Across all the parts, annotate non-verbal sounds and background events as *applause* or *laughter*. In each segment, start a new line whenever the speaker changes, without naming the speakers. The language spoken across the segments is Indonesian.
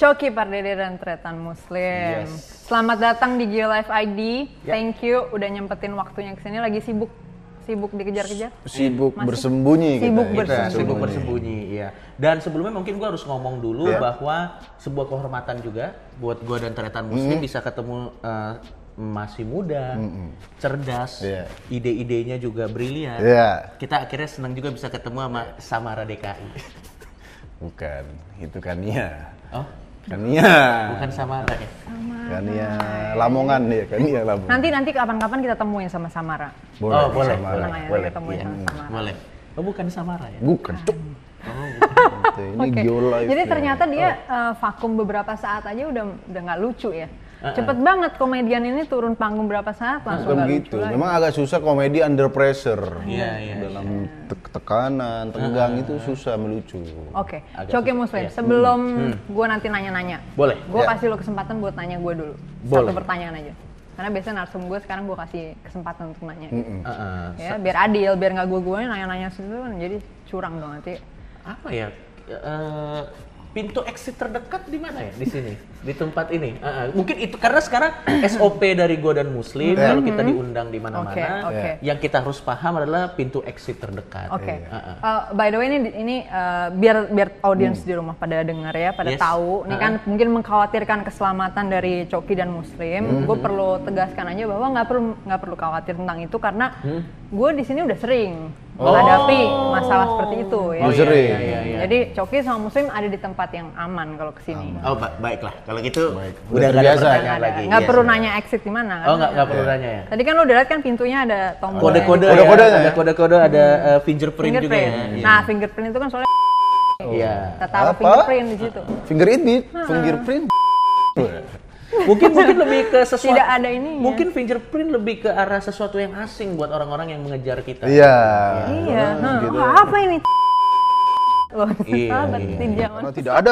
Coki Pardede dan Tretan Muslim.
Yes. Ya.
Selamat datang di GeoLife ID. Thank you udah nyempetin waktunya kesini lagi sibuk sibuk dikejar-kejar.
Sibuk
Masih.
bersembunyi kita
Sibuk
ya.
bersembunyi.
Kita sibuk bersembunyi, iya. Dan sebelumnya mungkin gue harus ngomong dulu
Iya.
bahwa sebuah kehormatan juga buat gue dan Teretan Muslim bisa ketemu eh, masih muda, cerdas,
Iya.
ide-idenya juga brilian.
Iya.
Kita akhirnya senang juga bisa ketemu sama Samara DKI.
Bukan, itu Kania.
Oh,
Kania. Iya.
bukan Samara ya?
Kania Lamongan ya, Kania Lamongan.
Nanti nanti kapan-kapan kita temuin sama Samara.
Boleh,
Oh, boleh, Iya.
sama.
Tenang aja,
Boleh.
kita temuin sama Samara.
Boleh. Oh, bukan Samara ya?
Bukan, cuk. Gitu, Ini
Oh. Oke.
geolife.
Jadi
ya.
ternyata dia eh, vakum beberapa saat aja udah udah nggak lucu ya. Cepet banget komedian ini turun panggung berapa saat langsung
Uh-uh. Bukan
nggak lucu
gitu.
lagi.
Memang agak susah komedi under pressure.
Iya, Ah. iya.
Dalam te- tekanan, tegang itu susah melucu.
Oke,
Agak
Coki
susah,
Muslim.
iya.
Sebelum
Hmm.
gue nanti nanya-nanya,
Boleh.
Gue
Ya.
kasih lo kesempatan buat nanya gue dulu. Satu
Boleh.
pertanyaan aja. Karena biasanya narsum gue sekarang gue kasih kesempatan untuk nanya.
Mm.
Heeh.
Ya, biar adil, biar nggak gue gue nanya-nanya situ kan jadi curang dong nanti.
Apa ya? Eh, pintu exit terdekat di mana ya? Di sini, di tempat ini. Heeh. Mungkin itu karena sekarang *clears throat* SOP dari gue dan Muslim kalau kita
Mm-hmm.
diundang di mana-mana,
Oke, oke.
yang kita harus paham adalah pintu exit terdekat. Ah,
Oke.
Heeh.
Eh, by the way ini ini eh, biar biar audiens di rumah pada dengar ya, pada
Yes.
tahu. Ini kan mungkin mengkhawatirkan keselamatan dari Coki dan Muslim. Gue perlu tegaskan aja bahwa nggak perlu nggak perlu khawatir tentang itu karena
Hmm.
gue di sini udah sering menghadapi masalah seperti itu ya.
Oh, sering.
iya, iya, iya.
Jadi Coki sama Muslim ada di tempat yang aman kalau kesini.
Oh, ba- baiklah. Kalau gitu
Baik.
udah
Udah
nggak ada
terbiasa.
Nggak
pertanyaan
ada.
lagi.
Nggak
Iya,
perlu
sudah.
nanya exit di mana.
Oh,
kan?
nggak nggak perlu nanya ya.
Tadi kan lo udah lihat kan pintunya ada tombol.
Kode-kode
Ada
ya,
kodenya
ada
ya?
kode-kode, ada eh, fingerprint, juga
Hmm. fingerprint.
ya. Iya.
Nah, fingerprint itu kan soalnya
Iya.
kita taruh
Apa?
fingerprint di situ.
Finger edit,
Ah.
fingerprint.
Mungkin mungkin lebih ke sesuatu
Tidak ada ininya.
Mungkin fingerprint lebih ke arah sesuatu yang asing buat orang-orang yang mengejar kita.
Iya.
Iya.
Nah,
Nah,
gitu.
wah, apa ini? Loh,
Iya,
sahabat
iya.
tidak.
Karena tidak ada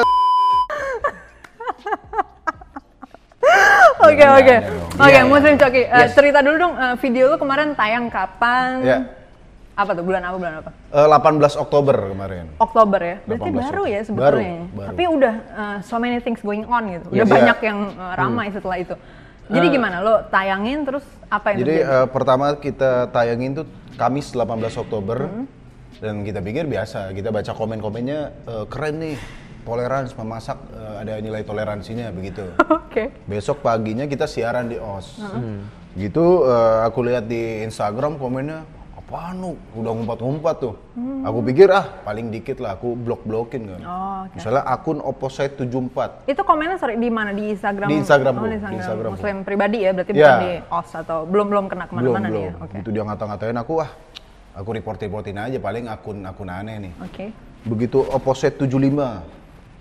Oke,
Iya,
oke.
iya dong.
Oke,
Iya, iya.
Muslim Coki. eh,
Yes.
cerita dulu dong eh, video lu kemarin tayang kapan?
Iya.
Apa tuh? Bulan apa? Bulan apa?
Eh, 18 Oktober kemarin.
Oktober ya. Berarti
18
baru ya
Oktober.
sebetulnya.
Baru, baru.
Tapi udah eh, so many things going on gitu. Udah
Yes.
banyak
Iya.
yang eh, ramai setelah itu. Jadi gimana lo tayangin terus apa yang
Jadi
terjadi?
eh, pertama kita tayangin tuh Kamis 18 Oktober
Hmm.
dan kita pikir biasa, kita baca komen-komennya eh, keren nih, tolerans memasak eh, ada nilai toleransinya begitu.
*laughs* Oke.
Besok paginya kita siaran di OS.
Hmm.
Gitu eh, aku lihat di Instagram komennya apa nu udah ngumpat-ngumpat tuh. Aku pikir ah paling dikit lah aku blok-blokin kan.
Hmm. Oh, oke.
Misalnya akun opposite 74
Itu komennya sorry di mana di Instagram?
Di Instagram
oh,
gua,
di
di
Instagram,
Instagram
Muslim pribadi ya berarti
Iya.
bukan di OS atau belum belum kena kemana-mana nih ya.
belum.
Oke.
Itu dia ngata-ngatain aku ah aku report-reportin aja paling akun-akun aneh nih.
Oke. Hmm,
Begitu opposite 75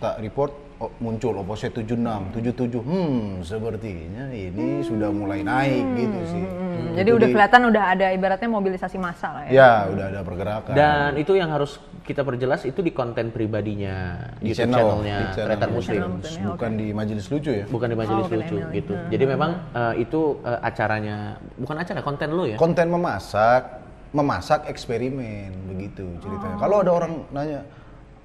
tak report o- muncul opposite 76, 77. Hmm, sepertinya ini sudah mulai naik gitu sih.
Hmm,
Itu
Jadi udah
di-
kelihatan udah ada ibaratnya mobilisasi massa lah ya.
Ya, udah ada pergerakan.
Dan itu yang harus kita perjelas itu di konten pribadinya,
di
YouTube
channel,
channelnya
di channel
Tretan Muslim,
Channel Muslim, ya,
bukan di majelis lucu ya.
bukan di majelis
Oh, bukan
lucu
Emily.
gitu. Jadi memang eh, itu eh, acaranya, bukan acara konten lo ya.
Konten memasak, memasak eksperimen begitu ceritanya. Kalau ada orang nanya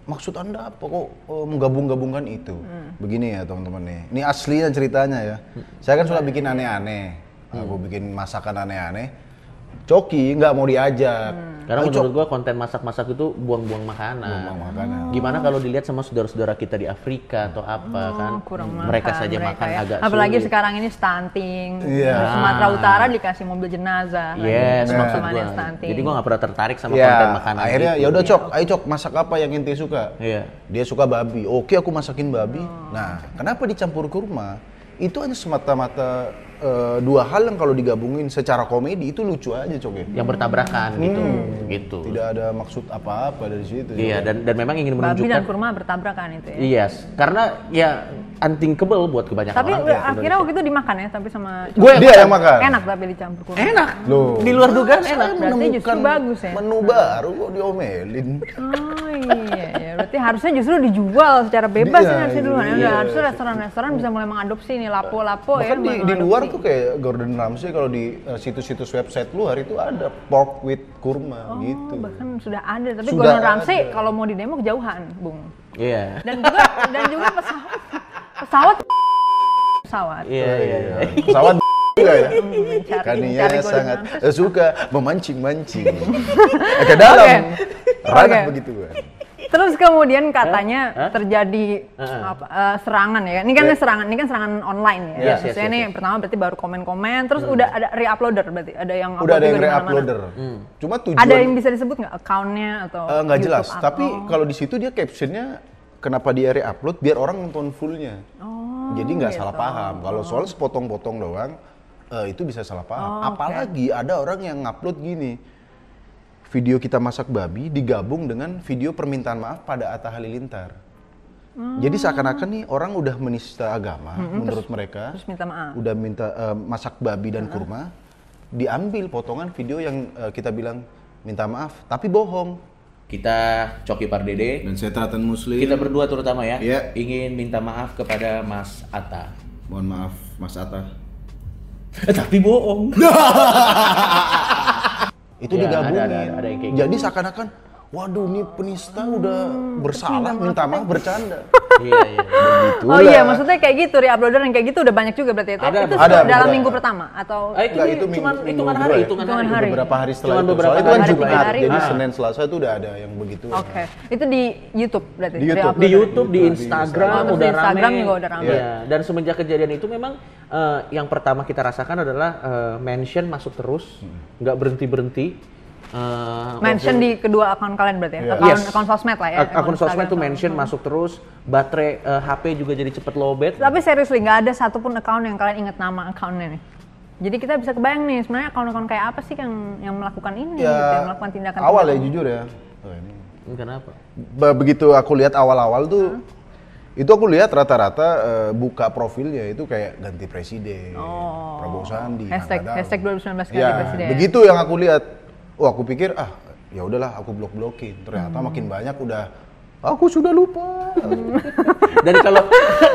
maksud anda apa kok eh, menggabung-gabungkan itu, begini ya teman-teman nih. Ini aslinya ceritanya ya. Saya kan suka bikin aneh-aneh, aku bikin masakan aneh-aneh. Coki nggak mau diajak.
Karena
Ayo, Cok.
menurut gua konten masak-masak itu buang-buang makanan. Oh.
Buang-buang makanan.
Gimana kalau dilihat sama saudara-saudara kita di Afrika atau apa kan?
Oh, kurang makan
mereka saja makan
ya.
agak
Apalagi
sulit.
sekarang ini stunting.
Iya.
Di Sumatera Utara dikasih mobil jenazah. lagi.
Yes,
Teman-teman
maksud
yang
gua.
Stunting.
Jadi gua nggak pernah tertarik sama
Ya,
konten makanan.
Nah. akhirnya
gitu.
ya udah cok, ayo cok masak apa yang inti suka.
Iya.
Dia suka babi. Oke, aku masakin babi. Nah, kenapa dicampur kurma? Itu hanya semata-mata eh, dua hal yang kalau digabungin secara komedi itu lucu aja, Cok. ya.
yang bertabrakan gitu,
Hmm.
gitu.
Tidak ada maksud apa-apa dari situ. Cok.
Iya, dan dan memang ingin
Babi
menunjukkan
Iya,
dan kurma bertabrakan itu ya.
Iya, karena ya unthinkable buat kebanyakan
Tapi
orang.
udah-
di
akhirnya
Indonesia.
waktu itu dimakan ya, tapi sama
Gue yang
Dia yang makan.
enak tapi dicampur
Eh?
kurma.
enak.
Loh.
Di luar dugaan enak.
Saya
Berarti justru
menemukan
bagus ya?
Menu baru kok diomelin.
Oh iya, iya, berarti harusnya justru dijual secara bebas
Iya,
ini harusnya dulu. Ya,
iya.
udah, harusnya restoran-restoran bisa mulai mengadopsi nih lapo-lapo ya.
Bahkan di,
mulai
di luar
mengadopsi.
tuh kayak Gordon Ramsay kalau di eh, situs-situs website luar itu ada pork with kurma gitu.
Oh, bahkan sudah ada, tapi
Sudah
Gordon Ramsay
ada.
kalau mau di demo kejauhan, Bung.
Iya.
Dan juga dan juga pesawat
*laughs*
pesawat pesawat.
Iya, iya, iya.
Pesawat *laughs* juga ya.
*laughs* Mencari-
Kania
mencari Gordon
iya, sangat eh,
Ramsay.
suka
*laughs*
memancing-mancing. Ke dalam.
Oke.
Ranah
Oke.
begitu kan.
Terus kemudian katanya
Hah?
terjadi
Heeh.
apa, eh, serangan ya. Ini kan serangan, ini kan serangan online ya.
Yes, yes,
Maksudnya
yes, Hmm.
ini pertama berarti baru komen-komen, terus udah ada reuploader berarti ada yang
Udah
upload
ada yang
juga di mana-mana.
reuploader. Cuma tujuan
Ada yang bisa disebut nggak accountnya atau?
Eh, nggak jelas,
YouTube
tapi
atau-
kalau di situ dia captionnya kenapa dia re-upload biar orang nonton fullnya.
Oh,
Jadi
gitu.
nggak salah paham. Kalau soal sepotong-potong doang eh, itu bisa salah paham.
Oh, oke.
Apalagi ada orang yang ngupload gini. Video kita masak babi digabung dengan video permintaan maaf pada Atta Halilintar. Jadi seakan-akan nih orang udah menista agama menurut mereka.
Hmm. terus minta maaf.
Udah minta eh, masak babi dan kurma, diambil potongan video yang eh, kita bilang minta maaf tapi bohong.
Kita Coki Pardede,
dan saya Tratan Muslim.
kita berdua terutama ya,
Iya.
ingin minta maaf kepada Mas Atta. Eh,
Mohon maaf Mas Atta.
Tapi bohong.
Itu
Iya,
digabungin.
ada- ada- ada yang kayak gitu.
Jadi seakan-akan waduh ini penista udah bersalah minta maaf bercanda.
Iya, iya.
Begitu.
Oh iya, maksudnya kayak gitu reuploader yang kayak gitu udah banyak juga berarti itu.
Ada,
itu
ada,
dalam
ada.
minggu pertama atau
Ah, itu
Enggak, itu
cuman
minggu-
hitungan
minggu
hari,
dua ya?
hitungan
Hitungan
hari.
hari.
beberapa hari setelah
Cuman
itu.
beberapa
Soalnya itu kan
hari,
Jumat,
hari.
jadi
Ah.
Senin Selasa itu udah ada yang begitu.
Oh,
Oke, itu di YouTube berarti.
Di YouTube.
di
reuploader.
YouTube, di
Di
Instagram,
Instagram.
udah
Di Instagram
rame.
juga udah rame.
Iya. Dan semenjak kejadian itu memang eh, yang pertama kita rasakan adalah eh, mention masuk terus,
Hmm.
nggak eh, berhenti berhenti.
Mention di kedua akun kalian berarti ya. Akun,
Iya.
akun sosmed lah ya.
akun sosmed
Instagram
tuh
sama-
mention masuk terus, baterai eh, HP juga jadi cepet lowbat.
Tapi seriously, nggak ada satupun account yang kalian ingat nama accountnya nih. Jadi kita bisa kebayang nih, sebenarnya account-account kayak apa sih yang yang melakukan ini,
Ya,
gitu, yang melakukan tindakan
awal ya jujur ya. Oh, ini.
*laughs*
Kenapa?
Be- begitu aku lihat awal-awal tuh itu aku lihat rata-rata eh, buka profilnya itu kayak ganti presiden
Oh,
Prabowo Sandi
Hashtag-
Angga Daud.
hashtag 2019 ganti
Ya,
presiden.
begitu yang aku lihat wah aku pikir ah ya udahlah aku blok-blokin ternyata
Hmm.
makin banyak udah aku sudah lupa Eh,
Dan kalau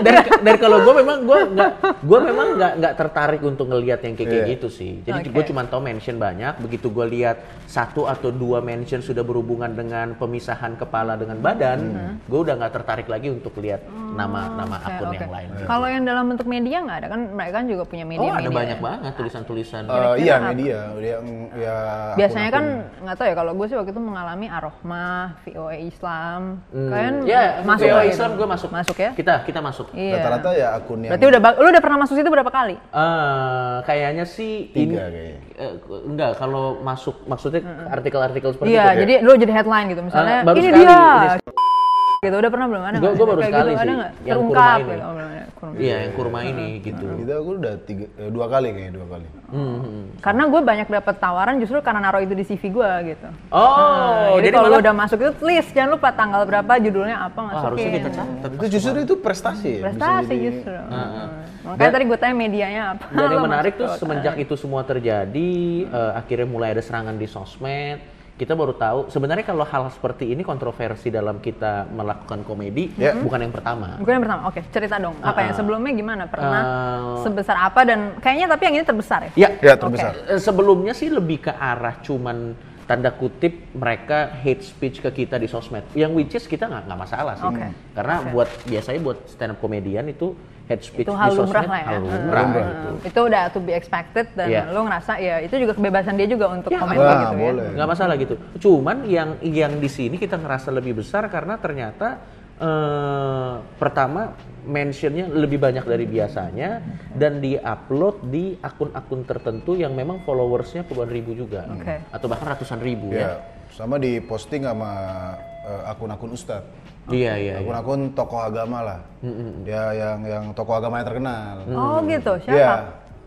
dan dan kalau gue memang gue nggak gue memang nggak nggak tertarik untuk ngelihat yang kayak kayak
Iya.
gitu sih. Jadi
Oke.
gue cuma tau mention banyak. Begitu gue lihat satu atau dua mention sudah berhubungan dengan pemisahan kepala dengan badan, gue udah nggak tertarik lagi untuk lihat nama nama
Hmm. Oke,
akun
Eh, oke.
yang lain.
Kalau yang dalam bentuk media nggak ada kan mereka kan juga punya media.
Oh ada banyak banget tulisan-tulisan.
Eh, iya media yang ya
Biasanya kan
akun-akun.
nggak tahu ya kalau gue sih waktu itu mengalami Arohmah, VOA Islam,
Hmm.
kalian
ya,
masuk
masuk
nggak gitu?
Islam gue masuk.
Masuk ya?
Kita kita masuk.
Iya.
rata-rata ya akun yang
Berarti udah ba- lu udah pernah masuk situ berapa kali?
Eh, kayaknya sih ini
Tiga kayaknya.
eh, enggak kalau masuk maksudnya artikel-artikel seperti
Iya,
itu.
jadi lu jadi headline gitu misalnya
Ah, baru
ini
sekali,
dia.
ini
gitu udah pernah belum ada
Gua-
nggak?
gua baru
Kayak
sekali
gitu, ada
sih,
nggak?
yang
terungkap
kurma ini.
gitu. Oh, belum ada, kurma.
Iya, yang kurma ini gitu.
gitu aku udah tiga, eh, dua kali kayaknya dua kali
Hmm.
Hmm.
karena gue banyak dapat tawaran justru karena naruh itu di CV gue gitu
Oh,
jadi,
jadi,
kalau
malah
udah masuk itu please jangan lupa tanggal berapa judulnya apa masukin
Ah, *laughs* harusnya kita catat.
itu justru itu prestasi ya, bisa
prestasi
jadi-
justru makanya tadi gue tanya medianya apa
Ah, Dan yang
lo
menarik
masuk
tuh
ke-
semenjak itu semua terjadi, eh, akhirnya mulai ada serangan di sosmed. Kita baru tahu sebenarnya kalau hal seperti ini kontroversi dalam kita melakukan komedi
Ya.
bukan yang pertama.
gue yang pertama oke cerita dong apa
Ah,
yang sebelumnya gimana pernah
Eh.
sebesar apa dan kayaknya tapi yang ini terbesar ya
Ya,
ya terbesar
eh, sebelumnya sih lebih ke arah cuman tanda kutip mereka hate speech ke kita di sosmed. Yang which is kita nggak nggak masalah sih.
Oke.
Karena buat biasanya buat stand up komedian itu hate speech
itu
di
hal lumrah
sosmed
lah ya
hal
Hmm.
lumrah
Hmm.
gitu.
itu udah to be expected dan
Iya.
lo ngerasa ya itu juga kebebasan dia juga untuk
Ya,
komen
wah,
gitu
boleh.
ya
nggak masalah gitu. Cuman yang yang di sini kita ngerasa lebih besar karena ternyata eh, pertama mentionnya lebih banyak dari biasanya dan diupload di akun-akun tertentu yang memang followersnya puluhan ribu juga
Oke.
atau bahkan ratusan
Iya.
ribu
ya sama di posting sama eh, akun-akun ustadz
ya. Iya iya. iya.
akun-akun tokoh agama lah
Hmm,
Hmm.
ya yang yang tokoh agama yang terkenal
oh gitu siapa
ya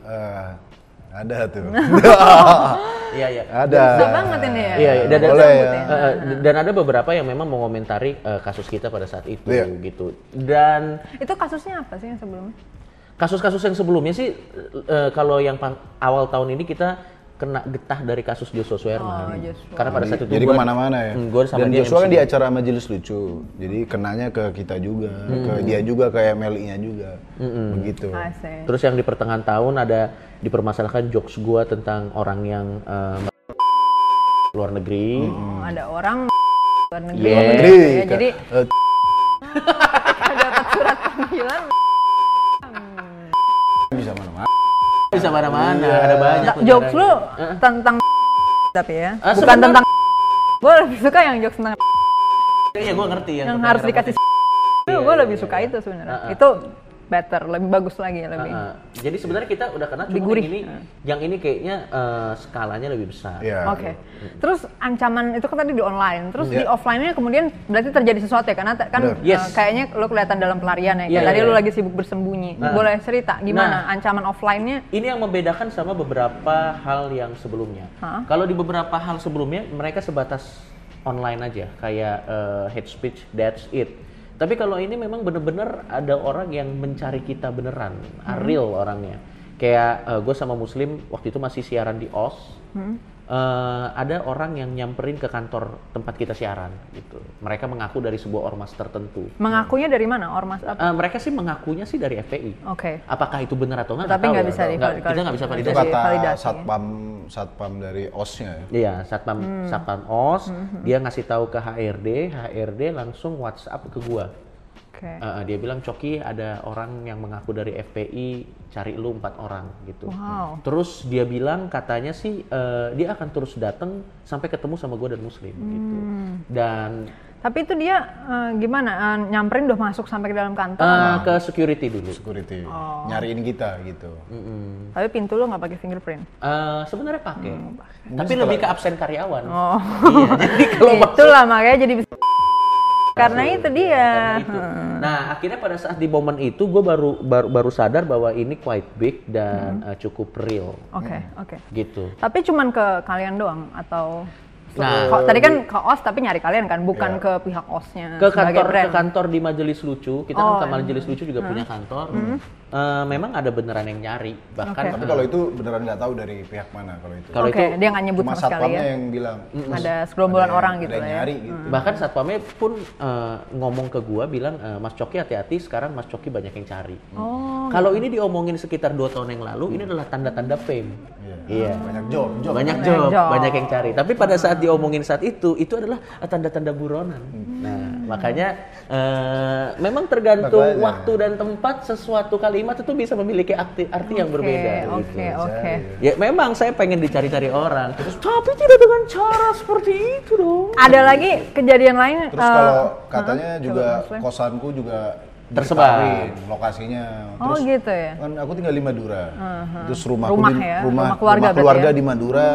eh, Ada
*laughs*
tuh.
Iya iya.
ada.
Susah banget ini ya.
Iya, iya. Dan, dan-
Boleh ya.
Rambutnya.
eh, eh, dan ada beberapa yang memang mengomentari eh, kasus kita pada saat itu
Iya.
gitu. Dan
Itu kasusnya apa sih yang sebelumnya?
kasus-kasus yang sebelumnya sih eh, kalau yang pang- awal tahun ini kita kena getah dari kasus Joshua Suherman.
Oh, Joshua.
Karena pada saat itu
jadi
gua-
kemana-mana ya.
Hmm,
Mm, gua sama
Dan
dia
Joshua kan
MC.
di acara majelis lucu, jadi kenanya ke kita juga, ke
Hmm.
dia juga, ke MLI-nya juga, begitu.
Asik.
Iya. Terus yang di pertengahan tahun ada dipermasalahkan jokes gua tentang orang yang eh, luar negeri.
Oh, ada orang luar negeri.
Luar
gitu
Negeri,
ya. Jadi
ke- eh,
dapat surat *laughs*
kan?
panggilan.
bisa mana-mana.
Bisa mana-mana,
Iya.
ada banyak. negara
jokes lu
gitu.
tentang *laughs* tapi ya.
Ah,
Bukan
sebentar.
tentang *laughs* Gue lebih suka yang jokes tentang
Iya, gua ngerti yang
yang
tentang Iya,
harus
rambut.
dikasih *laughs* itu gue lebih suka itu sebenarnya. Itu better, lebih bagus lagi lebih.
Heeh. Jadi sebenarnya kita udah kena cuma
Digurih.
yang ini yang ini kayaknya eh, skalanya lebih besar.
Iya.
Oke. Terus ancaman itu kan tadi di online, terus di offline-nya kemudian berarti terjadi sesuatu ya karena te- kan
Benar.
eh,
Yes.
kayaknya lu kelihatan dalam pelarian ya.
Iya,
Kayak tadi
iya,
lu
iya. Nah.
lagi sibuk bersembunyi. Boleh cerita gimana ancaman offline-nya?
Ini yang membedakan sama beberapa hal yang sebelumnya.
Hah?
Kalau di beberapa hal sebelumnya mereka sebatas online aja, kayak eh, hate speech, that's it. Tapi kalau ini memang bener-bener ada orang yang mencari kita beneran, real orangnya. Kayak gue sama Muslim waktu itu masih siaran di OS. Eh, ada orang yang nyamperin ke kantor tempat kita siaran gitu. Mereka mengaku dari sebuah ormas tertentu.
Mengakunya dari mana? Ormas apa?
Eh, mereka sih mengakunya sih dari FPI.
Oke.
Apakah itu benar atau enggak?
Tapi nggak bisa
divalidasi.
divalidasi.
Kita ya. nggak bisa
Nggak
Itu
validasi.
Jadi
kata
validasi.
satpam satpam dari osnya ya.
Iya, satpam
Hmm.
satpam os, dia ngasih tahu ke HRD, HRD langsung WhatsApp ke gua.
Oke.
Eh, eh, dia bilang Coki ada orang yang mengaku dari FPI cari lu empat orang gitu.
Wow.
Terus dia bilang katanya sih eh, dia akan terus datang sampai ketemu sama gua dan Muslim
Hmm.
gitu. Dan
Tapi itu dia eh, gimana? Eh, nyamperin udah masuk sampai ke dalam
eh,
kantor.
ke security dulu.
Security
Oh.
nyariin kita gitu.
Hmm. Tapi pintu lu nggak pakai fingerprint.
Eh, sebenarnya pakai, tapi lebih ke absen karyawan.
Hmm, Oh.
Iya,
*laughs*
jadi kalau
Itulah makanya jadi bisa. Karena itu dia.
Nah, Iya. itu. Nah, akhirnya pada saat di momen itu gue baru, baru baru sadar bahwa ini quite big
Hmm.
dan eh, cukup real
Oke, oke.
gitu.
Tapi cuman ke kalian doang atau
Nah. Iya.
Ko- tadi kan ke OS tapi nyari kalian kan, bukan ke pihak OS-nya Nah, sebagai
Ke kantor
brand. Oh, iya.
ke kantor di Majelis Lucu, kita kan ke Majelis Lucu juga punya kantor.
Hmm.
Eh, memang ada beneran yang nyari, bahkan
Tapi
eh,
kalau itu beneran nggak tahu dari pihak mana kalau itu.
kalau
Oke, dia nggak nyebut
Cuma
sama sekali ya.
satpamnya yang bilang.
Ada segerombolan
ada yang-
orang gitu
ada yang
lah ya.
nyari gitu.
Hmm. bahkan satpamnya pun eh, ngomong ke gua bilang eh, Mas Coki hati-hati sekarang Mas Coki banyak yang cari.
Oh, Hmm.
Kalau ini diomongin sekitar dua tahun yang lalu, ini adalah tanda-tanda fame.
Iya.
Iya.
Banyak job, job.
banyak
Banyak
job,
job.
banyak yang cari. Tapi pada saat diomongin saat itu, itu adalah tanda-tanda buronan. Nah, makanya eh, memang tergantung
Makanya.
waktu dan tempat sesuatu kalimat itu bisa memiliki arti, arti yang
oke,
berbeda. gitu.
oke, oke.
Ya memang saya pengen dicari-cari orang, Terus, tapi tidak dengan cara seperti itu dong.
Ada lagi kejadian lain
Terus
eh,
kalau katanya juga
Muslim.
kosanku juga
Tersebar.
diketahuin lokasinya.
Oh
Terus
gitu ya.
kan aku tinggal di Madura. Terus rumahku
Rumah
di,
ya,
rumah,
rumah keluarga berarti ya?
di Madura.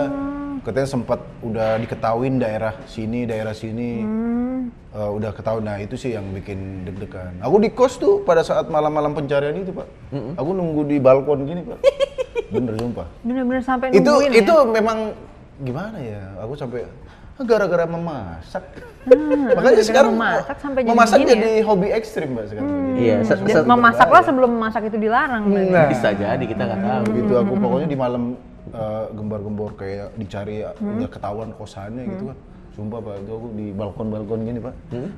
Katanya sempat udah diketahuin daerah sini, daerah sini.
Hmm.
Eh, udah ketahuin. Nah, itu sih yang bikin deg-degan. Aku di kos tuh pada saat malam-malam pencarian itu, Pak. Aku nunggu di balkon gini,
*laughs*
Pak. Bener sumpah
Bener-bener sampai
itu
nungguin
itu
ya.
memang gimana ya aku sampai "Ah, gara-gara memasak makanya sekarang
Hmm, memasak sampai jadi
memasak
begini ya? Hmm.
jadi hobi ekstrim mbak sekarang
Iya, se-
Jadi
se-
memasak
Iya.
lah sebelum memasak itu dilarang. berarti.
Nah.
bisa jadi kita nggak tahu.
begitu aku pokoknya di malam eh, gembar-gembor kayak dicari ya,
Hmm.
udah ketahuan kosannya gitu kan sumpah pak itu aku di balkon-balkon gini pak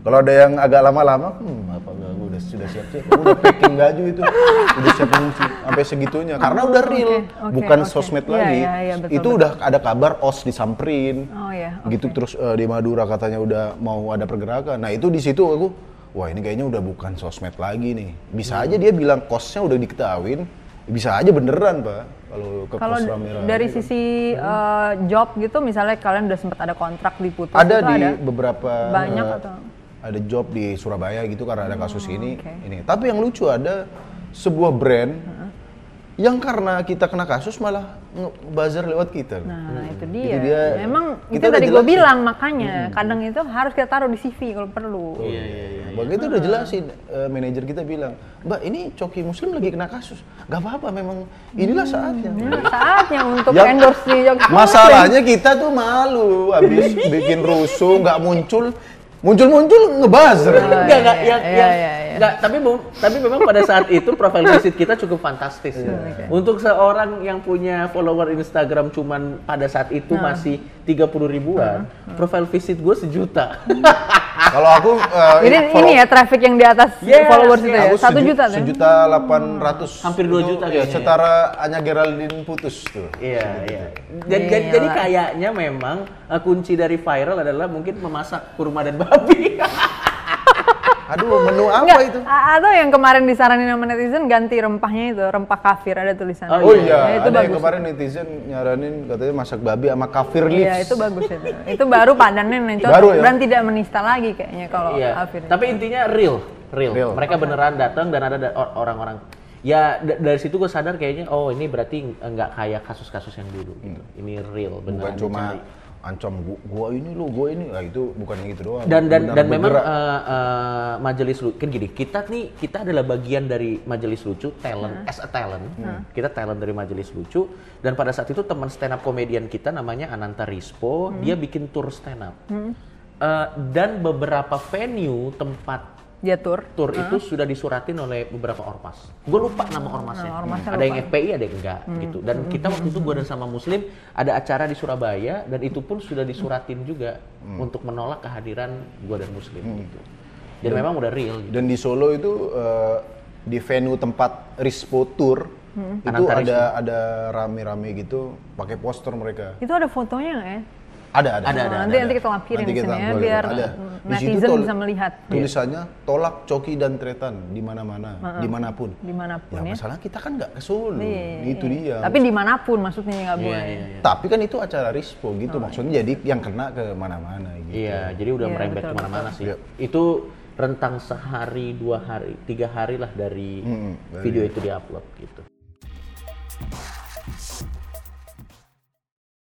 kalau ada yang agak lama-lama hmm apa enggak aku udah sudah siap-siap aku udah packing baju itu udah siap mengungsi sampai segitunya karena udah real
Oh, oke, oke,
bukan
oke.
sosmed
Iya,
lagi
iya, iya, betul,
itu udah ada kabar os disamperin
Oh ya.
gitu terus eh, di Madura katanya udah mau ada pergerakan. Nah itu di situ aku wah ini kayaknya udah bukan sosmed lagi nih.
Hmm.
Bisa aja dia bilang kosnya udah diketahuin, bisa aja beneran pak kalau ke
Kalau
kos rame-rame. gitu. Hmm.
dari sisi eh, job gitu, misalnya kalian udah sempat ada kontrak diputus
ada
itu
di
ada.
beberapa
Banyak
eh,
atau-
ada job di Surabaya gitu karena ada kasus ini
oke.
ini. Tapi yang lucu ada sebuah brand yang karena kita kena kasus malah nge-buzzer lewat kita.
Nah, itu dia.
Hmm. Itu dia.
Memang
Kita
itu
udah
tadi gue
jelasin. Hmm.
bilang makanya kadang itu harus kita taruh di CV kalau perlu.
Iya, iya, iya.
Begitu udah jelasin eh, manajer kita bilang, "Mbak, ini coki muslim lagi kena kasus." Gak apa-apa memang inilah saatnya.
Hmm.
Nah, saatnya untuk
Ya,
endorse di Joki Muslim.
*laughs* Masalahnya kita tuh malu habis bikin rusuh nggak muncul muncul-muncul ngebuzzer.
Enggak, enggak,
iya,
yang,
iya,
yang-
iya, iya.
enggak, tapi bu- tapi memang pada saat itu profil visit kita cukup fantastis.
Iya,
ya. Untuk seorang yang punya follower Instagram cuman pada saat itu
Nah.
masih 30 ribuan, profil visit gue sejuta.
Hmm.
Kalau aku eh,
Jadi
follow-
ini ya traffic yang di atas
Yes,
followers
yes.
itu ya.
Aku
Satu
seju-
juta tuh.
Sejuta delapan ratus.
Hampir dua
Itu,
juta
Ya,
kayaknya.
setara Anya Geraldine putus tuh.
Iya, iya. Jadi, jadi, jadi
Gila.
kayaknya memang eh, kunci dari viral adalah mungkin memasak kurma dan babi. *laughs*
Aduh, menu apa
Enggak,
itu?
a- atau yang kemarin disaranin sama netizen ganti rempahnya itu, rempah kafir ada tulisannya.
Oh,
Oh
iya.
iya,
Ya, itu
ada yang
bagus.
kemarin netizen nyaranin katanya masak babi sama kafir
Iya,
lips.
itu bagus itu. Itu baru padannya nencot
Baru ya?
dan tidak menista lagi kayaknya kalau
Iya.
kafir.
Tapi intinya real, real.
Real.
Mereka beneran datang dan ada da- or- orang-orang. Ya da- dari situ gue sadar kayaknya oh ini berarti nggak kayak kasus-kasus yang dulu
Hmm.
gitu. Ini real
Bukan
beneran.
cuma
dicari.
ancam gua, gua ini lo, gua ini. Nah, itu bukannya gitu doang.
dan dan
Benar
dan memang
bergerak.
eh, eh, majelis lucu kan gini kita nih kita adalah bagian dari majelis lucu talent as a talent
Hmm.
kita talent dari majelis lucu dan pada saat itu teman stand up komedian kita namanya Ananta Rispo dia bikin tour stand up Eh, dan beberapa venue tempat
Jatur.
Tur itu sudah disuratin oleh beberapa ormas. Gue lupa nama ormasnya.
Nah, ormasnya Hmm.
ada yang FPI, ada yang enggak gitu. Dan kita waktu itu gue dan sama Muslim ada acara di Surabaya dan itu pun sudah disuratin juga
Hmm.
untuk menolak kehadiran gue dan Muslim gitu. Dan memang udah real. Gitu.
dan di Solo itu eh, di venue tempat Rispo Tour
Hmm.
itu
Ananta
ada ada rame-rame gitu pakai poster mereka.
Itu ada fotonya nggak ya?
Ada ada.
Ada, ada,
nanti nanti kita lampirin
Nanti
di
kita
sini ya
boleh,
biar
ada. Di situ
netizen
tol-
bisa melihat
Tulisannya tolak coki dan tretan di mana-mana, dimanapun.
dimanapun
Ya
ya.
masalah kita kan nggak ke Solo,
Iya,
itu dia.
Tapi dimanapun maksudnya nggak
Iya,
boleh.
iya, iya.
Tapi kan itu acara rispo gitu,
Oh,
maksudnya jadi yang kena ke mana-mana gitu.
Iya, jadi udah
Iya,
merembet
betul,
kemana-mana sih.
Iya.
Itu rentang sehari, dua hari, tiga hari lah dari
Mm, dari-
video itu diupload gitu.